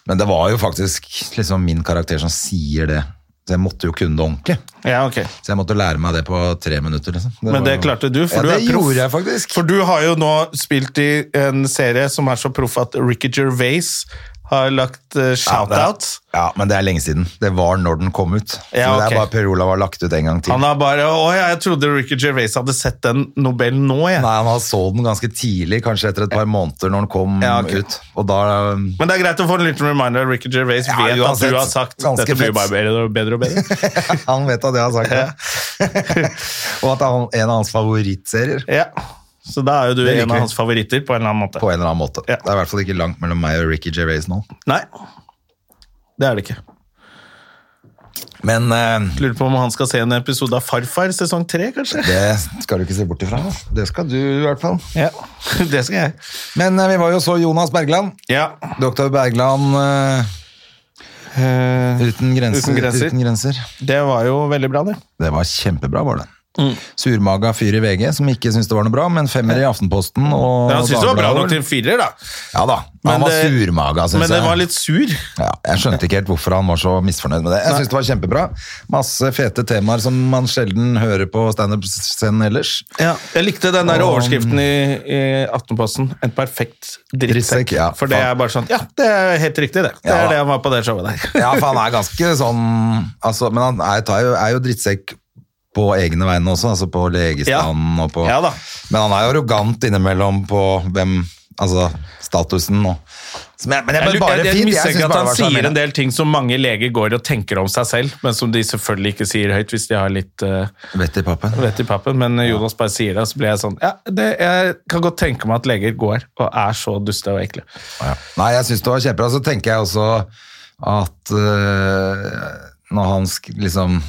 Men det var jo faktisk liksom min karakter som sier det. Så jeg måtte jo kunne det ordentlig. Ja, ok. Så jeg måtte lære meg det på tre minutter. liksom. Men var det jo- klarte du, for ja, du det er proff. gjorde jeg faktisk. For du har jo nå spilt i en serie som er så proff at Ricky Gervais har lagt eh, shoutouts. Ja, men det er lenge siden. Det var når den kom ut. Ja, Så det ok. er bare Per Olav har lagt ut en gang til. Han har bare Å ja, jeg trodde Ricky Gervais hadde sett den Nobel nå, jeg. Nei, han har så den ganske tidlig, kanskje etter et par måneder når den kom Ja, ok. ut. Og da um, Men det er greit å få en liten reminder. Ricky Gervais Ja, vet uansett, at du har sagt ganske dette fett. blir bare bedre og bedre. Og bedre. Han vet at jeg har sagt det. og at det er en av hans favorittserier. ja. Så da er jo du Det liker en av vi. hans favoritter på en eller annen måte. På en eller annen måte. Ja. Det er i hvert fall ikke langt mellom meg og Ricky Gervais nå. Nei, det er det ikke. Men eh, Lurer på om han skal se en episode av Farfar sesong tre, kanskje? det skal du ikke se bort ifra. Det skal du i hvert fall. Ja, det skal jeg. Men eh, vi var jo så Jonas Bergland. Ja. Doktor Bergland eh, uten, grenser, Uten grenser. uten grenser. Eh, Det var jo veldig bra, det. Det var kjempebra, var det. Mm. Surmaga fyr i VG, som ikke syntes det var noe bra, men femmer i Aftenposten. Og Men han syntes det var bra Dagbladet. nok til en firer, da. Ja da, Men han var det- surmaga, syns jeg. Men det var litt sur. ja, jeg skjønte ikke helt hvorfor han var så misfornøyd med det. Jeg syns det var kjempebra. Masse fete temaer som man sjelden hører på standup-scenen ellers. Jeg likte den der Og- overskriften i, i Aftenposten. En perfekt drittsekk. Drittsekk, ja. For det er bare sånn Ja, det er helt riktig, det. Det Ja, da. er det han var på det showet der. Ja, for han er ganske sånn altså, Men han er, tar jo, er jo drittsekk på egne vegne også, altså på legestanden og på Ja da. Men han er jo arrogant innimellom på hvem Altså statusen og Så- Men, men det Jeg, er bare jeg, jeg fint. synes mistenker bare at han det var sier sjarmerende. en del ting som mange leger går og tenker om seg selv, men som de selvfølgelig ikke sier høyt hvis de har litt eh, Vett i pappen. vett i pappen. Men Jonas bare sier det, og så blir jeg sånn Ja, det, jeg kan godt tenke meg at leger går og er så duste og ekle. Ja. Nei, jeg syns det var kjempebra. Så tenker jeg også at eh, når han sk- liksom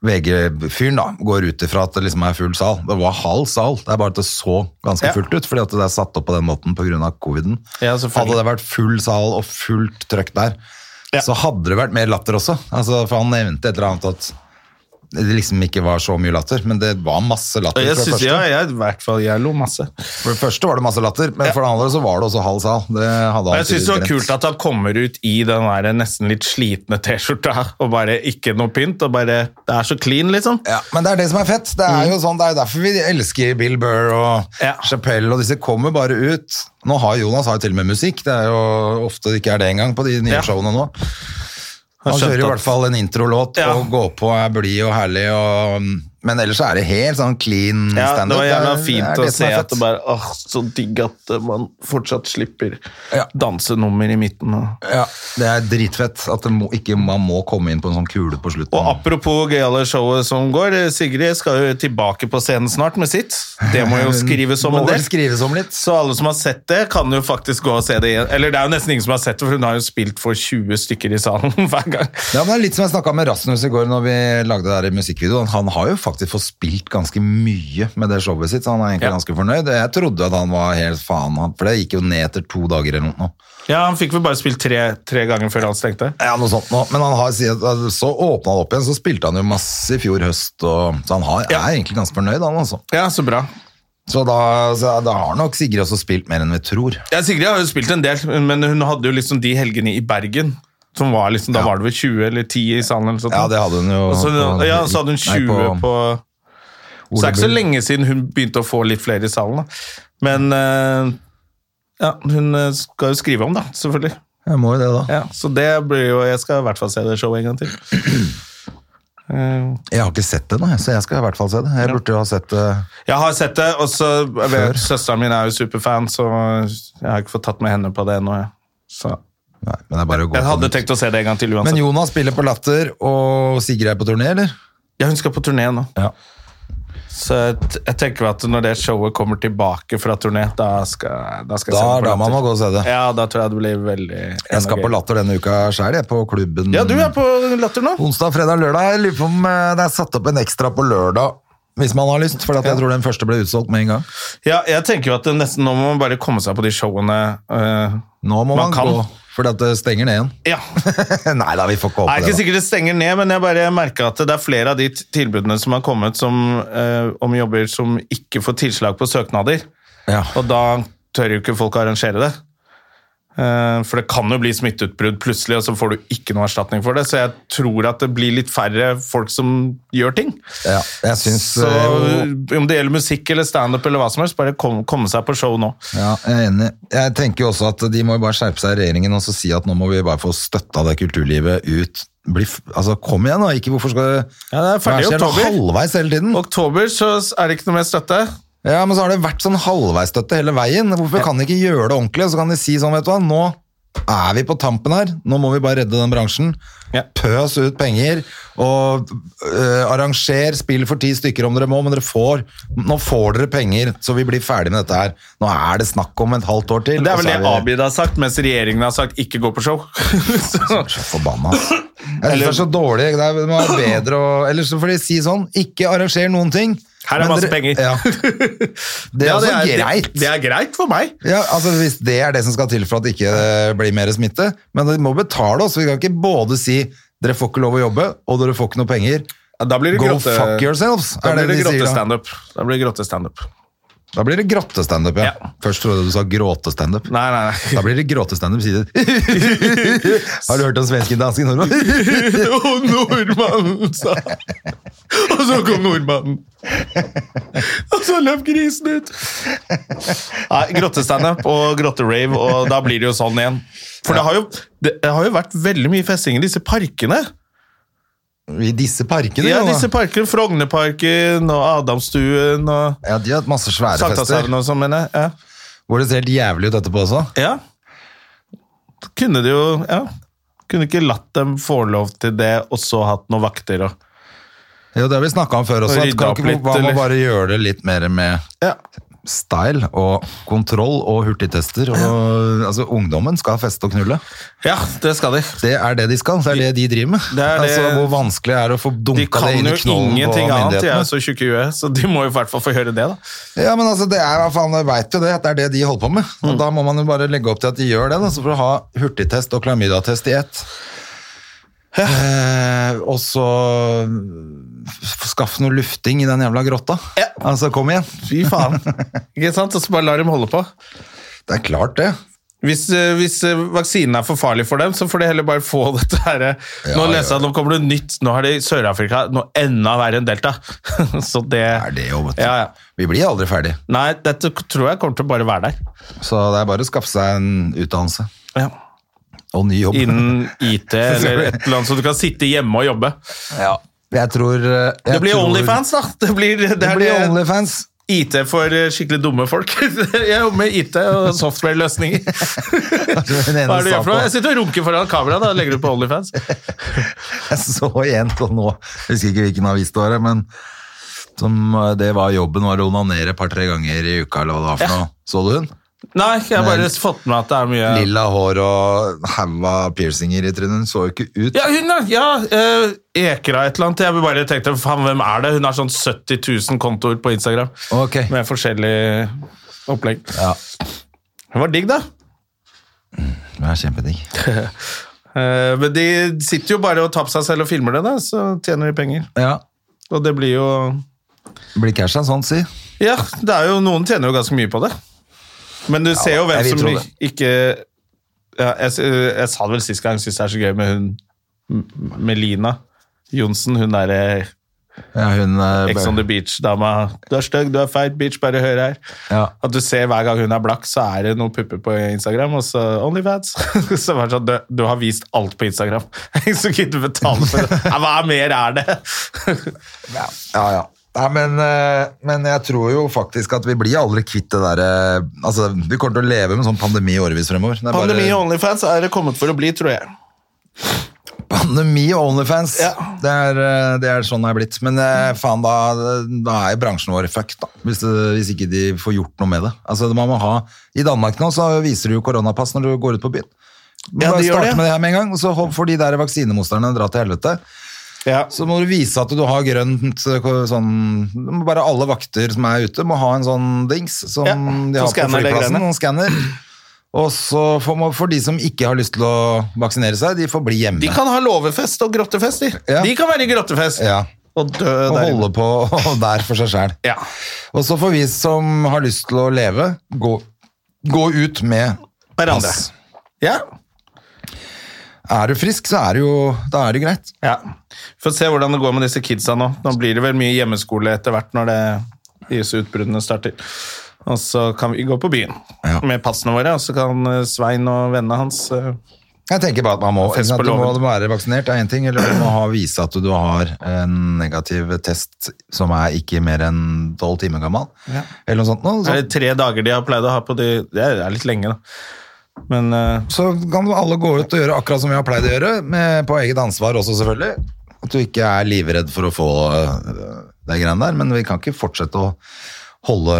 VG-fyren da, går ut ifra at det liksom er full sal. Det var halv sal, det er bare at det så ganske Ja. fullt ut, fordi at det er satt opp på den måten pga. coviden. Ja, selvfølgelig. hadde det vært full sal og fullt trøkk der, Ja. så hadde det vært mer latter også. Altså, for han nevnte et eller annet at det liksom ikke var så mye latter, men det var masse latter. Og jeg fra synes, første. ja, jeg, i hvert fall jeg lo masse. For det første var det masse latter, men for det andre så var det også halv sal. Det hadde Og han jeg syns det var tydeligvis glemt. kult at han kommer ut i den der nesten litt slitne T-skjorta og bare ikke noe pynt, og bare Det er så clean, liksom. Ja, men det er det som er fett. Det er jo sånn, det er jo derfor vi elsker Bill Burr og Mm. Ja. Chappelle, og disse kommer bare ut. Nå har Jonas har jo til og med musikk, det er jo ofte det ikke er det engang på de nye Ja. showene nå. Han Han skjønte kjører i at- hvert fall en introlåt Ja. og går på er blid og herlig, og, men ellers er det helt sånn clean Ja, det standup. var jævla er- fint det er å det som se er at fett. det bare Åh, så digg at man fortsatt slipper Ja. dansenummer i midten. Og ja, det er dritfett at det må, ikke, man må komme inn på en sånn kule på slutten. Og apropos gøyale showet som går, Sigrid skal jo tilbake på scenen snart med sitt. Det må jo skrives om Må en vel del. skrives om litt. Så alle som har sett det, kan jo faktisk gå og se det igjen. Eller det er jo nesten ingen som har sett det, for hun har jo spilt for 20 stykker i salen hver gang. Ja, men det er litt som jeg snakket med Rasmus i går når vi lagde det der i musikkvideoen. Han har jo faktisk fått spilt ganske mye med det showet sitt, så han er egentlig Ja. ganske fornøyd. Jeg trodde at han var helt faen, han- for det gikk jo ned etter to dager eller noe. Ja, han fikk vel bare spilt tre, tre ganger før han stengte. Ja, noe sånt nå. Men han har, sier at- så åpnet han opp igjen, så spilte han jo masse i fjor høst, og, så han har, Ja. er egentlig ganske fornøyd han altså. Ja, så bra. Så da, så da har nok Sigrid også spilt mer enn vi tror. Ja, Sigrid har jo spilt en del, men hun hadde jo liksom de helgene i Bergen. Som var liksom, Da Ja. var det vel 20 eller 10 i salen? eller sånt. Ja, det hadde hun jo. Og så, på- ja, så hadde hun 20 nei, på, Så det er ikke så Ole Bull. lenge siden hun begynte å få litt flere i salen. Da. Men eh, ja, hun eh, skal jo skrive om, da, selvfølgelig. Jeg må jo det da. Ja, så det blir jo Jeg skal i hvert fall se det showet en gang til. Eh, Jeg har ikke sett det nå, så jeg skal i hvert fall se det. Jeg burde jo ha sett eh, det. Jeg har sett det, og så jeg Før. vet, Søsteren min er jo superfan, så jeg har ikke fått tatt med henne på det ennå. jeg. Så Nei, men det er bare å gå jeg på hadde nytt. tenkt å se det en gang til Men uansett. Jonas spiller på Latter, og Sigrid er på turné, eller? Ja, hun skal på turné nå. Ja. Så jeg, t- jeg tenker at når det showet kommer tilbake fra turné, da skal, da skal jeg Da se er det da på man må latter. gå og se det. Ja, da tror jeg det blir veldig Jeg skal på Latter denne uka sjøl, på klubben. Ja, du er på Latter nå. Onsdag, fredag, lørdag. Jeg lurer på om eh, det er satt opp en ekstra på lørdag. Hvis man har lyst, for at jeg tror den første ble utsolgt med en gang. Ja, jeg tenker jo at det nesten nå må man bare komme seg på de showene. eh, Nå må Man man, kan. gå, fordi at det stenger ned igjen. ja. Nei da, vi får ikke Jeg håpe er det. ikke da. sikkert det stenger ned, men jeg bare merker at det er flere av de t- tilbudene som har kommet som, eh, om jobber som ikke får tilslag på søknader. Ja. Og da tør jo ikke folk å arrangere det. Eh, For det kan jo bli smitteutbrudd plutselig, og så får du ikke noe erstatning for det. Så jeg tror at det blir litt færre folk som gjør ting. Ja, jeg eh, syns Så om det gjelder musikk eller standup eller hva som helst, bare kom- komme seg på show nå. Ja, jeg er enig. Jeg tenker jo også at de må jo bare skjerpe seg i regjeringen og så si at nå må vi bare få støtta det kulturlivet ut. Bli, f- altså, kom igjen da, ikke hvorfor skal Ja, det er Hva ferdig i skjer nå? oktober. halvveis hele tiden? Oktober så er det ikke noe mer støtte. Ja, men så har det vært sånn halvveisstøtte hele veien. Hvorfor kan de ikke gjøre det ordentlig? Og så kan de si sånn, vet du hva, nå er vi på tampen her. Nå må vi bare redde den bransjen. Ja. Pøs ut penger, og øh, arranger spill for ti stykker om dere må, men dere får, nå får dere penger, så vi blir ferdig med dette her. Nå er det snakk om et halvt år til. Det er og vel så det vi- Abid har sagt, mens regjeringen har sagt ikke gå på show. så, Så Forbanna. ass. Jeg synes det er så dårlig. Det er- det må være bedre å Eller så får de si sånn, ikke arranger noen ting. Her er men masse dere- penger. Ja. Det er Ja, også det, greit. det er greit for meg. Ja, altså Hvis det er det som skal til for at det ikke eh, blir mer smitte. Men de må betale oss. Vi kan ikke både si dere får ikke lov å jobbe, og dere får ikke noe penger. Ja, Da blir det Go grotte, fuck yourselves, Da er det blir de det sier da. grottestandup. Da blir det grottestandup. Da blir det grottestandup, ja. Ja. Først trodde jeg du sa gråtestandup. Nei, nei, nei. Da blir det gråtestandup, sier de. Har du hørt om svensken, dansken, nordmann? Og nordmannen sa Og så kom nordmannen. Og så løp grisen ut. Nei, Grottestandup og grotterave, og da blir det jo sånn igjen. For det, har jo, det har jo vært veldig mye festing i disse parkene. I disse parkene, Ja, jo, da. disse parkene. Frognerparken og Adamstuen og Ja, de har hatt masse svære fester. Sankthanshaugen og sånn, mener jeg. Hvor det ser helt jævlig ut etterpå også. Ja. ja. Da Kunne de jo Ja. Kunne ikke latt dem få lov til det, og så hatt noen vakter og Jo, det har vi snakka om før også. Og At rydde kan opp ikke, litt, man må eller? bare gjøre det litt mer med Ja. style og kontroll og hurtigtester. Og, altså, ungdommen skal feste og knulle. Ja, det skal de. Det er det de skal. Det er det de driver med. Det er det- Altså, hvor vanskelig er det å få De dunka det kan inn jo i knollen på ingenting annet, de er myndighetene? jo så tjukke i huet, så de må jo i hvert fall få høre det, da. Ja, men altså, det er, hva faen, jeg vet jo det, at det er det de holder på med. Og Mm. Da må man jo bare legge opp til at de gjør det, da, så får du ha hurtigtest og klamydatest i ett. Eh, og så f- skaff noe lufting i den jævla grotta. Ja. Altså, kom igjen. Fy faen. Ikke sant? Og så bare lar dem holde på. Det er klart det. Hvis, eh, hvis eh, vaksinen er for farlig for dem, så får de heller bare få dette her. eh. Nå Ja, leser jeg at nå kommer det nytt. Nå har de i Sør-Afrika noe enda verre enn delta. så det Er det jo, vet du. Ja, ja. Vi blir aldri ferdig. Nei, dette tror jeg kommer til å bare være der. Så det er bare å skaffe seg en utdannelse Ja. og ny jobb. Innen IT eller et eller annet, så du kan sitte hjemme og jobbe. Ja. Jeg tror eh, jeg Det blir tror- Onlyfans, da! Det blir, det Det er blir det- Onlyfans. IT for eh, skikkelig dumme folk. Jeg jobber med IT og software-løsninger. Den ene Hva er det du gjør for noe? sa Jeg sitter og runker foran kamera, da legger du på Onlyfans. på- Jeg så igjen på nå, jeg husker ikke hvilken avis det var, men som, eh, det var jobben var å onanere et par-tre ganger i uka, eller hva det var for noe. Så du hun? Nei, jeg har Nei. bare fått med at det er mye Lilla hår og haua piercinger i trynet. Hun så jo ikke ut. Ja, hun er, ja, eh, Ekra et eller annet. Jeg bare tenkte, faen, hvem er det? Hun har sånn 70 000 kontoer på Instagram Ok. med forskjellig opplegg. Ja, Hun var digg, da. det er kjempedigg. Eh, Men de sitter jo bare og tar på seg selv og filmer det, da, så tjener de penger. Ja. Og det blir jo Blir casha sånn, si. Ja, det er jo, noen tjener jo ganske mye på det. Men du ser jo hvem jeg vil som tro det. ik- ikke ja, jeg, s- eh, jeg sa det vel sist gang, jeg syns det er så gøy med hun M- Melina Johnsen. Hun derre Ja, hun eh, Ex on the beach-dama. 'Du er stygg, du er feit, bitch, bare hør her'. Ja. At du ser hver gang hun er blakk, så er det noen pupper på Instagram, og så Onlyfans. så var det sånn, du, du har vist alt på Instagram, så gidder du betale for det. Nei, Hva mer er det? Ja, ja. Nei, men, eh, men jeg tror jo faktisk at vi blir aldri kvitt det derre Altså, vi kommer til å leve med sånn pandemi i årevis fremover. Det er Pandemi bare, og Onlyfans er det kommet for å bli, tror jeg. pandemi og Onlyfans. Ja. Det, er, eh, det er sånn det er blitt. Men eh, faen, da, da er jo bransjen vår fucked, da. Hvis, det- hvis ikke de får gjort noe med det. Altså, man må ha I Danmark nå så viser du jo koronapass når du går ut på byen. Ja, Bare de gjør start det. med det her med en gang, og så håp- får de der vaksinemotstanderne dra til helvete. Ja. Så må du vise at du har grønt sånn du må Bare alle vakter som er ute, må ha en sånn dings som Ja, de har på som skanner de flyplassen. greiene. Noen skanner. Og så får man, for de som ikke har lyst til å vaksinere seg, de får bli hjemme. De kan ha låvefest og grottefest, de. Ja. De kan være i grottefest Ja, og dø og der. holde på der for seg sjæl. Ja. Og så får vi som har lyst til å leve, gå, gå ut med Hverandre. pass. Ja. Er du frisk, så er det jo da er det jo greit. ja. Får se hvordan det går med disse kidsa nå. Nå blir det vel mye hjemmeskole etter hvert når det, disse utbruddene starter. Og så kan vi gå på byen Ja. med passene våre, og så kan eh, Svein og vennene hans eh, Jeg tenker bare at man må, Fest ikke sant, på du, må, låven. du må være vaksinert, er én ting, eller du må ha, vise at du har en negativ test som er ikke mer enn tolv timer gammel. Eller noe sånt. Noe Er det sånt. tre dager de har pleid å ha på de Det er litt lenge, da. Men eh, Så kan jo alle gå ut og gjøre akkurat som vi har pleid å gjøre, med, på eget ansvar også, selvfølgelig. At du ikke er livredd for å få øh, de greiene der, men vi kan ikke fortsette å holde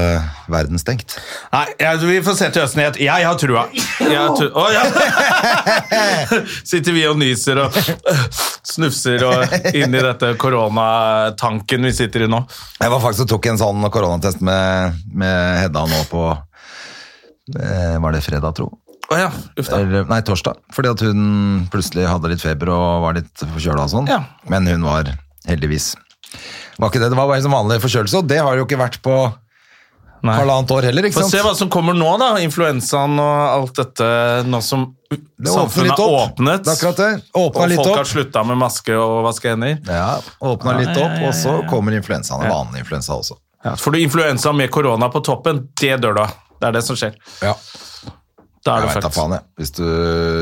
verden stengt. Nei, jeg, vi får se til høsten. Jeg, jeg har trua. Jeg har tru- Å, ja. Sitter vi og nyser og snufser og inn i dette koronatanken vi sitter i nå. Jeg var faktisk og tok en sånn koronatest med, med Hedda nå på eh, Var det fredag, tro? Å ja, uff da. Eller, nei, torsdag. Fordi at hun plutselig hadde litt feber og var litt forkjøla og sånn. Ja. Men hun var heldigvis var ikke det. det var bare som vanlig forkjølelse, og det har det jo ikke vært på Nei. halvannet år heller. ikke Få se sant? hva som kommer nå, da. Influensaen og alt dette nå som Det åpner samfunnet litt har opp. åpnet. Det er akkurat det. Åpnet og litt folk opp. har slutta med maske og vaske hender. Ja, Åpna litt opp, og så kommer influensaen. En vanlig influensa også. Ja. Får du influensa med korona på toppen, det dør du av. Det er det som skjer. Ja, Da jeg er det vet da fucked. faen, jeg. Hvis du,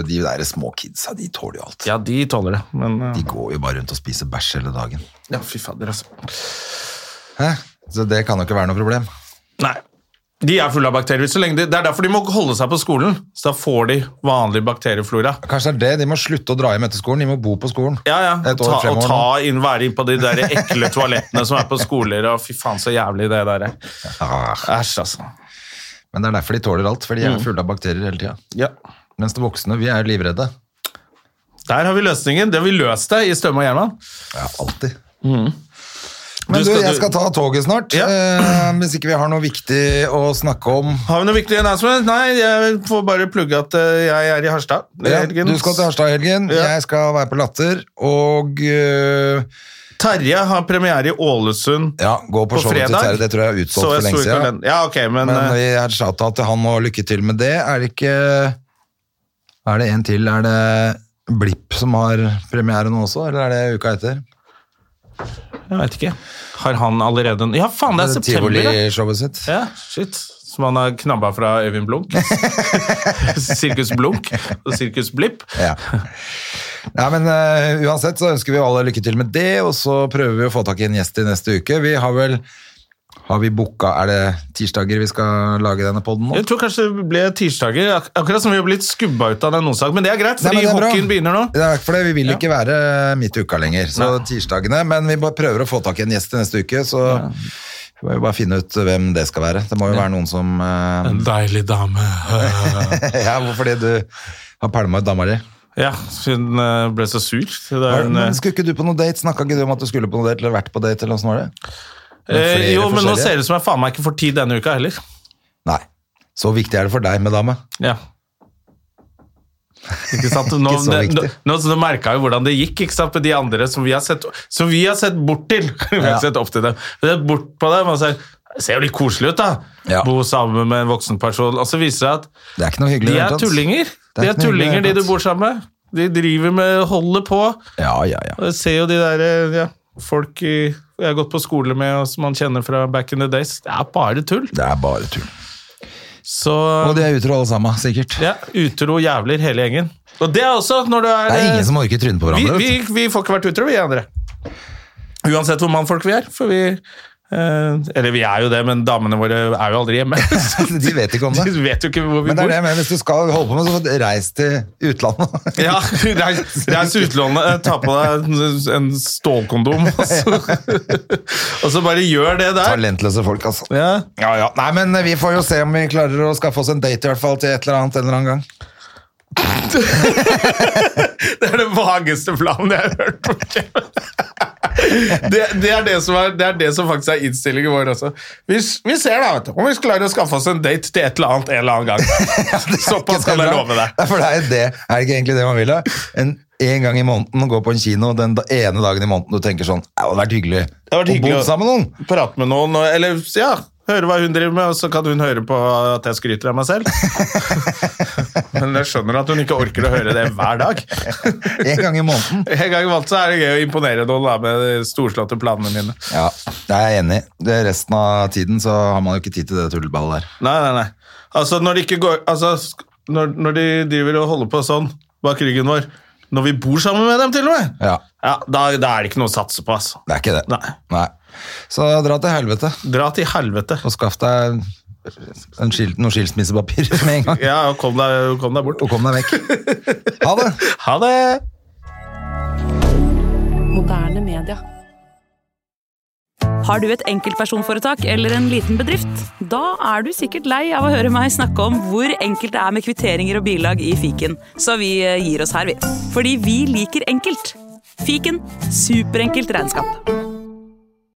de der små kidsa, de tåler jo alt. Ja, de tåler det, men eh, De går jo bare rundt og spiser bæsj hele dagen. Ja, fy fader, altså. Hæ? Så det kan jo ikke være noe problem. Nei. De er fulle av bakterier. Så lenge de, det er derfor de må holde seg på skolen. Så da får de vanlig bakterieflora. Kanskje det er det. De må slutte å dra hjem etter skolen. De må bo på skolen. Ja, ja. Et år Ta, og fremover ta nå. inn, være inn på de der ekle toalettene som er på skoler. Og fy faen, så jævlig det der er. Ah, Æsj, altså. Men det er derfor de tåler alt, for de Mm. er fulle av bakterier hele tida. Ja. Mens de voksne, vi er livredde. Der har vi løsningen. Det har vi løst det i Støme og Gjerman. Ja, alltid. Men du, Mm. skal- jeg skal ta toget snart. Ja. Eh, hvis ikke vi har noe viktig å snakke om. Har vi noe viktig announcement? Nei, jeg får bare plugge at eh, jeg er i Harstad. i Ja, helgen. du skal til Harstad i helgen, Ja. jeg skal være på Latter, og eh, Terje har premiere i Ålesund ja, gå på, på showet fredag. til Terje. Det tror jeg er utsolgt Så for lenge sto i siden. kalenderen. Ja, ok, men, Men eh, vi har shout-out til han og lykke til med det. Er det ikke Er det en til? Er det Blipp som har premiere nå også, eller er det uka etter? Jeg vet ikke. Har han allerede en Ja, faen, det er september, ja. Tivoli-showet sitt. Ja, shit. Som han har knabba fra Øyvind Blunk. Sirkus Blunk og Sirkus Blipp. Ja. Nei, men eh, uansett så ønsker vi alle lykke til med det, og så prøver vi å få tak i en gjest i neste uke. Vi har vel Har vi booka Er det tirsdager vi skal lage denne poden nå? Jeg tror kanskje det ble tirsdager, ak akkurat som vi har blitt skubba ut av den onsdagen. Men det er greit, Nei, fordi men det er bra. hockeyen begynner nå. Det er for det, Vi vil ikke være midt i uka lenger, så tirsdagene. Men vi bare prøver å få tak i en gjest til neste uke, så vi må jo bare finne ut hvem det skal være. Det må jo være noen som eh, En deilig dame. Ja, hvorfor det? Du har pælma ut dama di. Ja, hun eh, ble så sur. Så det er en, eh, Men Skulle ikke du på noe date? Snakka ikke du om at du skulle på noe date, eller vært på date, eller åssen var det? eh, flere jo, men nå forskjellige. ser det ut som jeg faen meg ikke får tid denne uka heller. Nei. Så viktig er det for deg med dame. Ja. Ikke sant? Nå, Ikke så det- viktig. nå, nå, så nå merka jeg jo hvordan det gikk ikke sant? med de andre som vi har sett, som vi har sett bort til. vi har Ja. ikke sett opp til dem. Vi har sett bort på dem og sagt det ser jo litt koselig ut, da. Ja. Bo sammen med en voksen person. Og så viser det seg at Det er ikke noe hyggelig. de i det er hele tatt. er tullinger. ikke De er noe hyggelig i det tullinger, de hele du tatt. bor sammen med. De driver med holder på. Ja, ja, ja. Og jeg ser jo de der eh, ja, folk i, jeg har gått på skole med, og som man kjenner fra back in the days. Det er bare tull. Det er bare tull. Så Og de er utro alle sammen, sikkert. ja, utro jævler hele gjengen. Og det er også når du er Det er eh, ingen som orker trynet på Vi, hverandre. vi, vet du. vi får ikke vært utro, vi andre. Uansett hvor mannfolk vi er. For vi eh, Eller vi er jo det, men damene våre er jo aldri hjemme. Så De vet ikke om det. De vet jo ikke hvor vi Men det bor. er det med, hvis du skal holde på med så reis til utlandet. Ja, Reis reis til utlandet, eh, ta på deg en- en stålkondom, og så, og så bare gjør det der. Talentløse folk, altså. Ja. Ja, ja. Nei, men eh, vi får jo se om vi klarer å skaffe oss en date i hvert fall til et eller annet en eller annen gang. Det er den vageste planen jeg har hørt. på TV. Det, det, er det, som er, det er det som faktisk er innstillingen vår også. Vi, s- vi ser da, vet du, om vi klarer å skaffe oss en date til et eller annet en eller annen gang. Såpass kan jeg love deg. Ja, For det er jo det, er det ikke egentlig det man vil da? En, en gang i måneden gå på en kino, den da- ene dagen i måneden du tenker sånn, det hadde vært hyggelig, hadde vært hyggelig å å- bo sammen med noen. Prate med noen, og- eller ja, Høre hva hun driver med, og så kan hun høre på at jeg skryter av meg selv. Men jeg skjønner at hun ikke orker å høre det hver dag. En gang i måneden. En gang valgt så er det gøy å imponere noen da, med de storslåtte planene mine. Ja, det er jeg enig i. Det- Resten av tiden så har man jo ikke tid til det tullballet der. Nei, nei, nei. Altså, når de, ikke går, altså, sk- når, når de driver og holder på sånn bak ryggen vår, når vi bor sammen med dem til og med, Ja. da, da er det ikke noe å satse på, altså. Det er ikke det. Nei. Så dra til helvete Dra til helvete. og skaff deg en skil, noe skilsmissepapir med en gang. Ja, og kom deg, kom deg bort. Og kom deg vekk. Ha det! Ha det! Moderne media. Har du et enkeltpersonforetak eller en liten bedrift? Da er du sikkert lei av å høre meg snakke om hvor enkelt det er med kvitteringer og bilag i fiken, så vi eh, gir oss her, vi. Fordi vi liker enkelt. Fiken superenkelt regnskap.